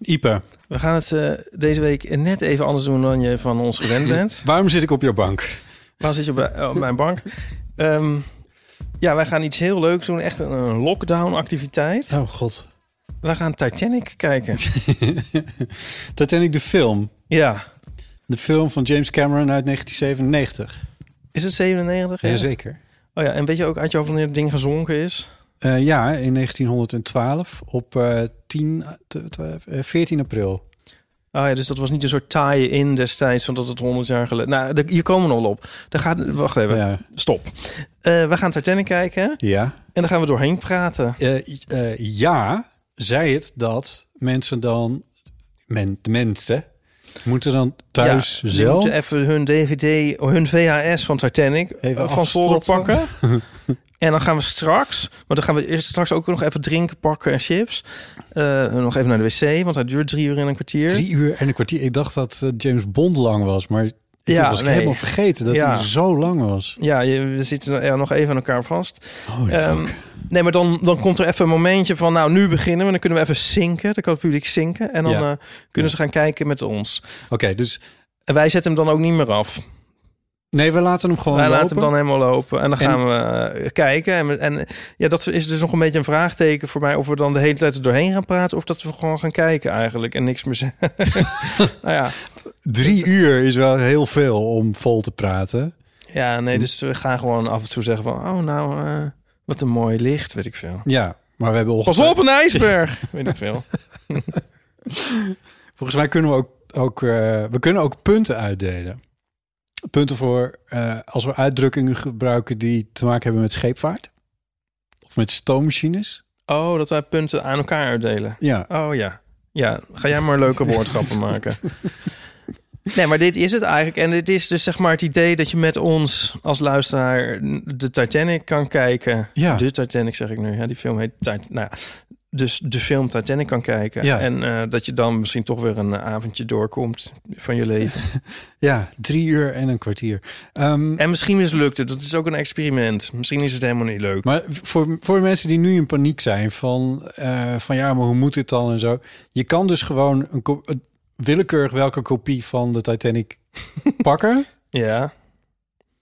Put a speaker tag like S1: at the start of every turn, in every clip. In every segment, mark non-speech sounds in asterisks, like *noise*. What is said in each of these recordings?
S1: Ipe,
S2: We gaan het eh, deze week net even anders doen dan je van ons gewend bent.
S1: waarom zit ik op jouw bank?
S2: Waar zit je op, eh, op mijn bank? Ehm, ja, wij gaan iets heel leuks doen. Echt een, een lockdown activiteit.
S1: Oh god.
S2: Wij gaan Titanic *laughs* kijken.
S1: Titanic de film.
S2: Ja.
S1: De film van James Cameron uit 1997.
S2: Is het 97? Ja?
S1: Jazeker.
S2: Oh ja, en weet je ook uit je hoofd wanneer het ding gezonken is?
S1: Eh, ja, in 1912 op eh 10, t- t- eh, 14 april.
S2: Ah ja, dus dat was niet een soort tie-in destijds, omdat het 100 jaar geleden... Nou, de- hier komen we nog wel op. Dan gaat, wacht even,
S1: Ja.
S2: stop. Eh, we gaan Titanic kijken en
S1: ja.
S2: dan gaan we doorheen praten.
S1: Eh, i- eh, ja, zei het dat mensen dan, men, de mensen, moeten dan thuis
S2: Ja, die
S1: zelf...
S2: moeten even hun DVD, hun VHS van Titanic eh,
S1: Even
S2: van voren
S1: afstroppen. *laughs*
S2: pakken. en dan gaan we straks, maar dan gaan we eerst straks ook nog even drinken pakken en chips. Eh, nog even naar de wc, want hij duurt drie uur en een kwartier.
S1: Drie uur en een kwartier. Ik dacht dat eh, James Bond lang was, maar ik
S2: Ja,
S1: was ik
S2: nee.
S1: helemaal vergeten dat
S2: Ja.
S1: hij zo lang was.
S2: Ja, je, we zitten er nog even aan elkaar vast.
S1: Holy
S2: Ehm,
S1: fuck.
S2: nee, maar dan, dan komt er even een momentje van, nou, nu beginnen we. Dan kunnen we even zinken, dan kan het publiek zinken. En dan
S1: Ja.
S2: eh, kunnen ze gaan kijken met ons.
S1: Oké, dus
S2: En wij zetten hem dan ook niet meer af.
S1: nee, we laten hem gewoon
S2: Wij
S1: lopen.
S2: laten hem dan helemaal lopen en dan
S1: En-
S2: gaan we eh, kijken. En, we- en eh, ja, dat is dus nog een beetje een vraagteken voor mij... of we dan de hele tijd er doorheen gaan praten... of dat we gewoon gaan kijken eigenlijk en niks meer zeggen. *laughs* nou ja.
S1: Drie uur is wel heel veel om vol te praten.
S2: ja, nee, dus we gaan gewoon af en toe zeggen van... oh, nou, eh, wat een mooi licht, weet ik veel.
S1: Ja, maar we hebben
S2: Pas
S1: ongeveer...
S2: op, een ijsberg, *laughs* weet ik veel.
S1: Volgens mij kunnen we ook, ook, eh, we kunnen ook punten uitdelen. Punten voor eh, als we uitdrukkingen gebruiken die te maken hebben met scheepvaart. Of met stoommachines.
S2: Oh, dat wij punten aan elkaar uitdelen.
S1: Ja,
S2: Oh ja. Ja, ga jij maar leuke woordschappen
S1: *laughs*
S2: maken. Nee, maar dit is het eigenlijk. En dit is dus zeg maar het idee dat je met ons als luisteraar de Titanic kan kijken.
S1: Ja.
S2: De Titanic zeg ik nu. Ja, die film heet Titanic. Nou, ja, dus de film Titanic kan kijken.
S1: Ja.
S2: En eh, dat je dan misschien toch weer een eh, avondje doorkomt van je leven.
S1: ja drie uur en een kwartier. Ehm,
S2: En misschien mislukt het. Dat is ook een experiment. Misschien is het helemaal niet leuk.
S1: maar voor, voor mensen die nu in paniek zijn van, eh, van ja, maar hoe moet dit dan en zo. Je kan dus gewoon een ko- een willekeurig welke kopie van de
S2: *laughs*
S1: Titanic pakken.
S2: Ja.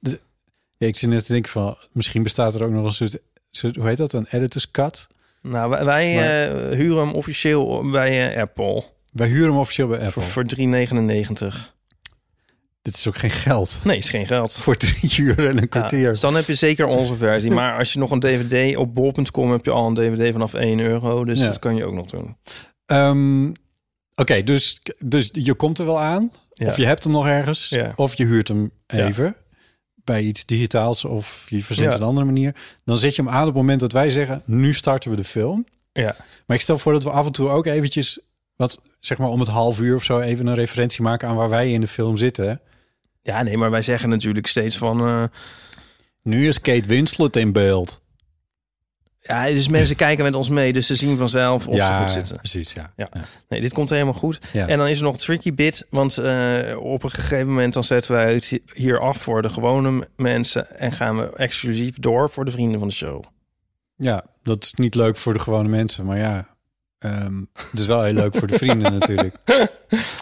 S1: Ja, ik zit net te denken van, misschien bestaat er ook nog een soort, soort hoe heet dat, een editor's cut.
S2: Nou, wij, wij,
S1: Maar-
S2: eh, huren hem officieel bij eh, Apple.
S1: Wij huren hem officieel bij
S2: Voor,
S1: Apple.
S2: voor 3,99. Nee,
S1: Dit is ook geen geld.
S2: is geen geld.
S1: Voor drie uur en een kwartier.
S2: Ja, dus dan heb je zeker onze versie. Maar als je nog een DVD op bol.com heb je al een DVD vanaf 1 euro. Dus
S1: Ja.
S2: dat kan je ook nog doen.
S1: Ehm, Oké, dus, dus je komt er wel aan.
S2: Ja.
S1: Of je hebt hem nog ergens.
S2: Ja.
S1: Of je huurt hem
S2: Ja.
S1: even. Bij iets digitaals of je verzint
S2: Ja.
S1: een andere manier. Dan zet je hem aan op het moment dat wij zeggen... nu starten we de film.
S2: Ja.
S1: Maar ik stel voor dat we af en toe ook eventjes... wat zeg maar om het half uur of zo... even een referentie maken aan waar wij in de film zitten.
S2: ja, nee, maar wij zeggen natuurlijk steeds van... eh,
S1: Nu is Kate Winslet in beeld.
S2: ja, dus mensen kijken met ons mee. Dus ze zien vanzelf of ze
S1: ja,
S2: goed zitten.
S1: precies. Ja.
S2: Ja. Nee, dit komt helemaal goed.
S1: Ja.
S2: En dan is er nog een tricky bit. Want eh, op een gegeven moment dan zetten wij het hier af voor de gewone m- mensen. En gaan we exclusief door voor de vrienden van de show.
S1: Ja, dat is niet leuk voor de gewone mensen, maar ja, ehm, het is wel heel leuk voor de
S2: *laughs*
S1: vrienden natuurlijk.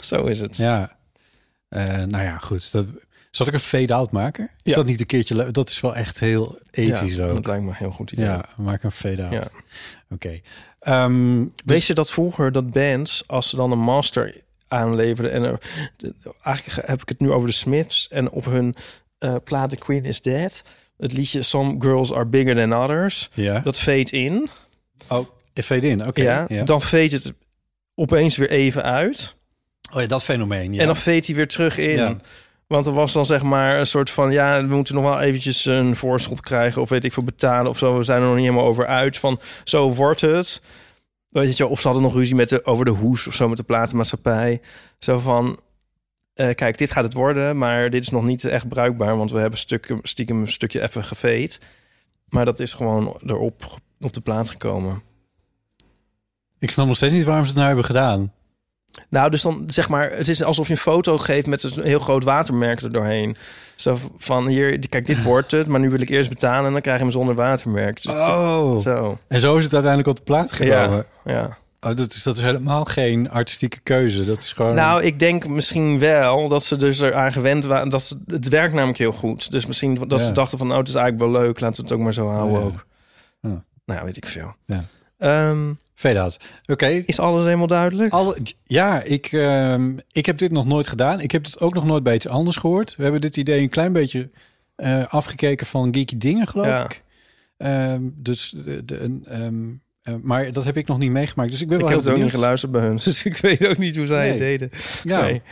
S2: Zo is het.
S1: Ja. Eh, nou ja, goed. Dat, zal ik een fade-out maken? Is
S2: Ja.
S1: dat niet een keertje leuk? Dat is wel echt heel ethisch
S2: Ja,
S1: ook.
S2: dat lijkt me een heel goed idee.
S1: Ja, maak een fade-out.
S2: Ja.
S1: Oké. Ehm, dus-
S2: Weet je dat vroeger dat bands, als ze dan een master aanleveren. En er- de- eigenlijk heb ik het nu over de Smiths en op hun eh plaat The Queen is Dead. Het liedje Some Girls Are Bigger Than Others.
S1: Ja.
S2: Dat veet in.
S1: oh, fade in. Oké.
S2: ja, Dan veet het opeens weer even uit.
S1: oh, ja, dat fenomeen. Ja.
S2: En dan veet hij weer terug in.
S1: Ja.
S2: Want er was dan zeg maar een soort van... ja, we moeten nog wel eventjes een voorschot krijgen... of weet ik veel, betalen of zo. We zijn er nog niet helemaal over uit. Van, zo wordt het. Weet je, wel, of ze hadden nog ruzie met de, over de hoes of zo... met de platenmaatschappij. Zo van... eh, kijk, dit gaat het worden, maar dit is nog niet echt bruikbaar... want we hebben stukken, stiekem een stukje even geveet. Maar dat is gewoon erop op de plaat gekomen.
S1: Ik snap nog steeds niet waarom ze het nou hebben gedaan.
S2: Nou, dus dan zeg maar, het is alsof je een foto geeft met een heel groot watermerk er doorheen. Zo van hier, kijk, dit wordt het, maar nu wil ik eerst betalen en dan krijg je hem zonder watermerk. Dus
S1: Oh.
S2: Zo,
S1: En zo is het uiteindelijk op de plaat gekomen.
S2: ja. ja.
S1: Oh, dat, is, dat is helemaal geen artistieke keuze. Dat is gewoon...
S2: Nou, ik denk misschien wel dat ze dus eraan gewend waren. Dat ze, het werkt namelijk heel goed. Dus misschien dat
S1: Ja.
S2: ze dachten van, oh, het is eigenlijk wel leuk, laten we het ook maar zo houden
S1: Ja.
S2: ook.
S1: Ja.
S2: Nou, weet ik veel.
S1: Ja.
S2: Ehm,
S1: Fade out. Oké.
S2: is alles helemaal duidelijk?
S1: Alle, ja, ik, ehm, ik heb dit nog nooit gedaan. Ik heb het ook nog nooit bij iets anders gehoord. We hebben dit idee een klein beetje eh, afgekeken van geeky dingen, geloof
S2: Ja.
S1: ik. Ehm, dus, de, de- een, ehm, eh, maar dat heb ik nog niet meegemaakt. Dus ik ben
S2: ik
S1: wel
S2: heb
S1: heel
S2: het ook niet
S1: benieuwd.
S2: geluisterd bij hun, *laughs* dus ik weet ook niet hoe zij het
S1: Nee.
S2: deden.
S1: Ja.
S2: Nee.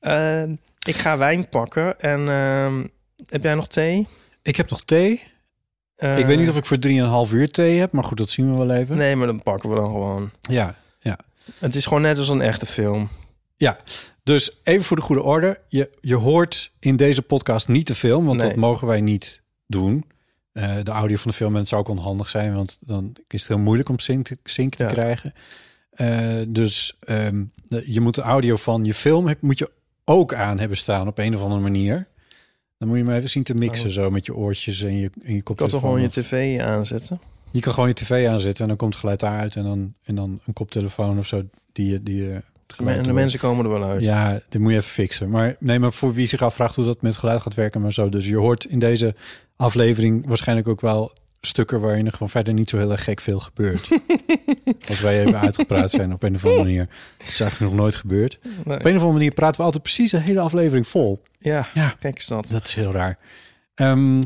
S2: Eh, ik ga wijn pakken en ehm, heb jij nog thee?
S1: Ik heb nog thee.
S2: Eh,
S1: ik weet niet of ik voor 3,5 uur thee heb, maar goed, dat zien we wel even.
S2: Ehm, Nee, maar dan pakken we dan gewoon.
S1: Ja, ja.
S2: Het is gewoon net als een echte film.
S1: Ja, dus even voor de goede orde. Je, je hoort in deze podcast niet de film, want
S2: Nee.
S1: dat mogen wij niet doen. Eh, de audio van de film, en het zou ook onhandig zijn, want dan is het heel moeilijk om sync te, sync te
S2: Ja.
S1: krijgen. Eh, dus ehm, de- je moet de audio van je film heb, moet je ook aan hebben staan op een of andere manier. Dan moet je maar even zien te mixen zo met je oortjes en je, en je
S2: Ik Nou, kan
S1: koptelefoon.
S2: toch gewoon je
S1: of-
S2: tv aanzetten?
S1: je kan gewoon je tv aanzetten en dan komt het geluid daaruit en dan, en dan een koptelefoon of zo die je... Die je het geluid
S2: En de
S1: hoort.
S2: mensen komen er wel uit.
S1: Ja, dit moet je even fixen. Maar nee, maar voor wie zich afvraagt hoe dat met geluid gaat werken, maar zo. Dus je hoort in deze aflevering waarschijnlijk ook wel stukken waarin er gewoon verder niet zo heel erg gek veel
S2: *laughs*
S1: gebeurt. Als wij even uitgepraat zijn op een of andere manier. Dat is eigenlijk nog nooit gebeurd. Op
S2: Nee.
S1: een of andere manier praten we altijd precies de hele aflevering vol.
S2: Ja,
S1: Ja.
S2: kijk eens dat.
S1: Dat is heel raar. Ehm,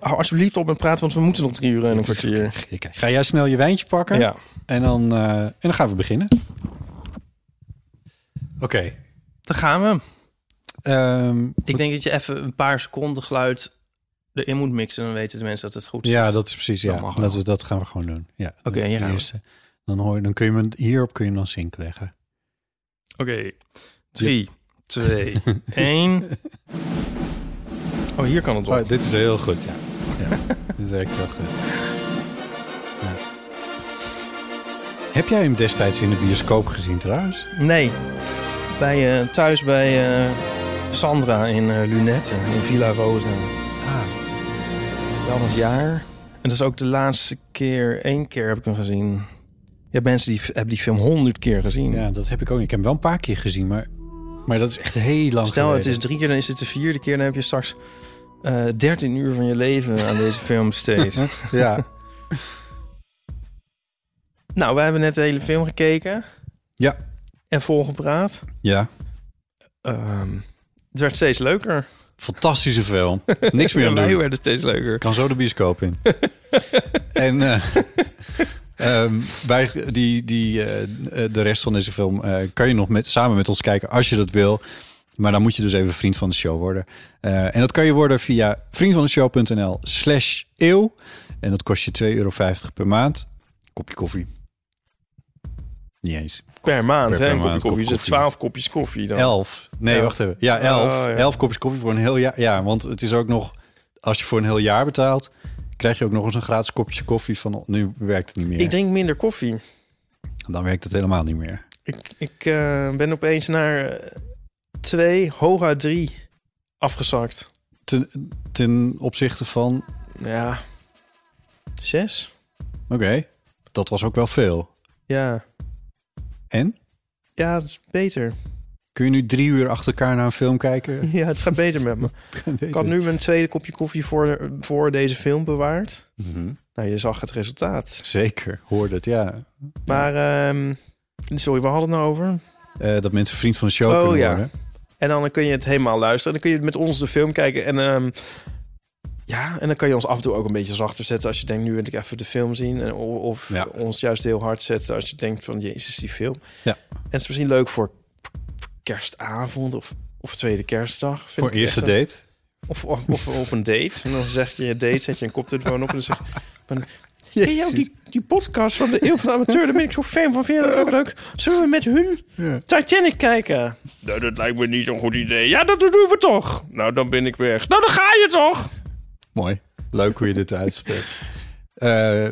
S2: Hou alsjeblieft op en praat, want we moeten nog drie uur en een kwartier.
S1: ik- ga jij snel je wijntje pakken?
S2: Ja.
S1: En dan, eh, en dan gaan we beginnen. Oké.
S2: Dan gaan we.
S1: Ehm,
S2: Ik denk dat je even een paar seconden geluid erin moet mixen. Dan weten de mensen dat het goed is.
S1: Ja, dat is precies.
S2: Dat
S1: Ja.
S2: mag
S1: Dat,
S2: wel.
S1: we, dat gaan we gewoon doen. Ja.
S2: Oké, hier
S1: De
S2: gaan we.
S1: eerste. Dan, hoor je, dan kun je hem hierop kun je hem dan zink leggen.
S2: Oké. Drie, twee, *laughs* één. Oh, hier kan het op.
S1: Oh, dit is heel goed, ja. *laughs* ja. dit werkt heel goed. Ja. Heb jij hem destijds in de bioscoop gezien trouwens?
S2: Nee, bij, eh, thuis bij eh, Sandra in eh, Lunetten, in Villa Rosa.
S1: Ah,
S2: Wel dat jaar. En dat is ook de laatste keer, één keer heb ik hem gezien. Je hebt mensen die f- hebben die film honderd keer gezien.
S1: ja, dat heb ik ook. niet. Ik heb hem wel een paar keer gezien, maar, maar dat is echt heel lang
S2: Stel, het
S1: geleden.
S2: is drie keer, dan is het de vierde keer. Dan heb je straks eh 13 uur van je leven aan
S1: *laughs*
S2: deze film besteed.
S1: Ja.
S2: nou, we hebben net de hele film gekeken
S1: ja.
S2: en volgepraat.
S1: Ja.
S2: Ehm, het werd steeds leuker.
S1: Fantastische *laughs* film. Niks meer aan
S2: wij
S1: doen.
S2: werden steeds leuker.
S1: Ik kan zo de bioscoop in. en eh, ehm, wij, die, die, eh, eh, de rest van deze film eh, kan je nog met, samen met ons kijken als je dat wil. Maar dan moet je dus even vriend van de show worden. Eh, en dat kan je worden via vriendvandeshow.nl slash eeuw. En dat kost je 2,50 euro per maand. Kopje koffie. Niet eens.
S2: Per maand, hè?
S1: Per- per
S2: Een kopje
S1: maand, kop
S2: koffie. Dus
S1: koffie.
S2: 12 kopjes koffie dan.
S1: Elf. Nee,
S2: Elf.
S1: wacht even. Ja, elf.
S2: Oh, ja.
S1: Elf kopjes koffie voor een heel jaar. Ja, want het is ook nog... Als je voor een heel jaar betaalt... krijg je ook nog eens een gratis kopje koffie van... Nu werkt het niet meer.
S2: Ik drink minder koffie.
S1: Dan werkt het helemaal niet meer.
S2: Ik, ik eh, ben opeens naar eh, twee, hooguit drie afgezakt.
S1: Ten, ten opzichte van...
S2: Ja. Zes?
S1: Oké, dat was ook wel veel.
S2: Ja.
S1: En?
S2: Ja, het is beter. *laughs*
S1: Kun je nu drie uur achter elkaar naar een film kijken?
S2: Ja, het gaat beter met me.
S1: Weet
S2: Ik had
S1: het.
S2: nu mijn tweede kopje koffie voor, voor deze film bewaard.
S1: Mhm.
S2: Nou, je zag het resultaat.
S1: Zeker, hoorde het, ja.
S2: Maar, ehm, sorry, waar hadden we het nou over?
S1: eh, dat mensen vriend van de show
S2: Oh,
S1: kunnen
S2: ja.
S1: worden.
S2: En dan kun je het helemaal luisteren. Dan kun je het met ons de film kijken. En ehm, ja, en dan kan je ons af en toe ook een beetje zachter zetten als je denkt, nu wil ik even de film zien. En, o- of
S1: Ja.
S2: ons juist heel hard zetten als je denkt van, jezus, die film.
S1: Ja.
S2: En het is misschien leuk voor, voor kerstavond of, of tweede kerstdag. Vind
S1: Voor
S2: ik
S1: eerste
S2: echt een-
S1: date.
S2: Of, of, of op een date. En dan zegt je je date, zet je een koptelefoon op en dan zeg je... van, Ken je ook die, die podcast van de Eeuw van de Amateur? Daar ben ik zo fan van. Vind je dat ook leuk? Zullen we met hun Titanic kijken? Nou, dat lijkt me niet zo'n goed idee. Ja, dat doen we toch. Nou, dan ben ik weg. Nou, dan ga je toch?
S1: Mooi. Leuk hoe je dit uitspreekt. Eh,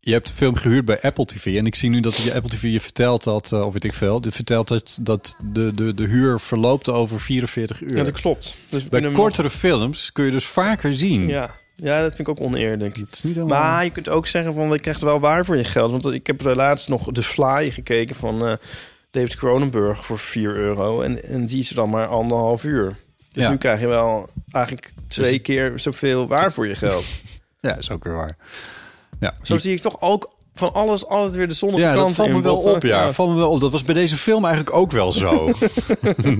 S1: je hebt de film gehuurd bij Apple TV. En ik zie nu dat je Apple TV je vertelt dat, eh, of weet ik veel, die vertelt dat, dat de, de, de huur verloopt over 44 uur.
S2: Ja, dat klopt. Dus we kunnen
S1: bij
S2: hem
S1: kortere films kun je dus vaker zien.
S2: nog- ja. ja, dat vind ik ook oneerlijk.
S1: Het is niet helemaal...
S2: Maar je kunt ook zeggen van, je krijgt wel waar voor je geld. Want ik heb er laatst nog The Fly gekeken van eh, David Cronenberg voor 4 euro. En, en die is er dan maar anderhalf uur. Dus
S1: Ja.
S2: nu krijg je wel eigenlijk twee
S1: Dus-
S2: keer zoveel waar voor je
S1: *laughs*
S2: geld.
S1: Ja, is ook weer waar. Ja,
S2: Zo zie ik toch ook van alles altijd weer de zonnige
S1: ja
S2: kant
S1: dat valt
S2: in, eh,
S1: me wel
S2: Botte.
S1: op. Ja, Dat valt me wel op. Dat was bij deze film eigenlijk ook wel zo.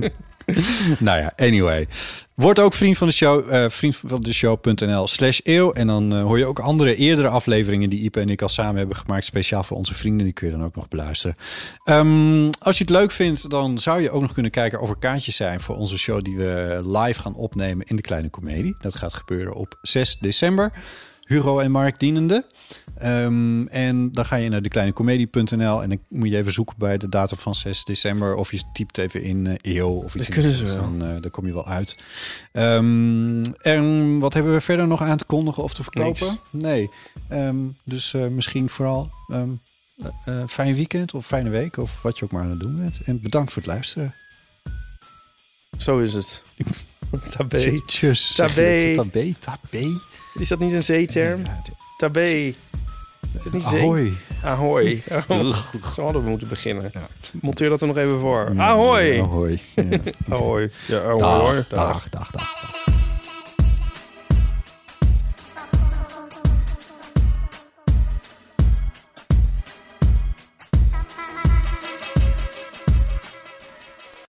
S1: *laughs* nou ja, anyway. Word ook vriend van de show. eh vriend van de show.nl slash eeuw. En dan eh, hoor je ook andere eerdere afleveringen die Ipe en ik al samen hebben gemaakt. Speciaal voor onze vrienden. Die kun je dan ook nog beluisteren. Ehm, als je het leuk vindt, dan zou je ook nog kunnen kijken of er kaartjes zijn voor onze show die we live gaan opnemen in de Kleine Comedie. Dat gaat gebeuren op 6 december. Hugo en Mark dienende. Ehm, en dan ga je naar dekleinecomedie.nl en dan moet je even zoeken bij de datum van 6 december. Of je typt even in eh, eeuw of iets.
S2: Dat kunnen ze
S1: anders.
S2: wel.
S1: Dan, eh, daar kom je wel uit. Ehm, en wat hebben we verder nog aan te kondigen of te verkopen?
S2: Niks.
S1: Nee. Ehm, dus eh, misschien vooral ehm, eh, eh, fijn weekend of fijne week of wat je ook maar aan het doen bent. En bedankt voor het luisteren.
S2: Zo is
S1: *laughs*
S2: het. Tabé.
S1: Tjus. Zeg je
S2: Tabé.
S1: dat? Tabé. Tabé.
S2: Is dat niet een zeeterm? Tabé. Is dat niet zee?
S1: Ahoy. *laughs*
S2: Ahoy. *laughs* Zo hadden we moeten beginnen. Monteer dat er nog even voor.
S1: Mm. Ja,
S2: Ahoy.
S1: Ahoy. Ja.
S2: Ahoy. Ja, ahoy.
S1: Dag,
S2: hoor.
S1: dag, dag, dag.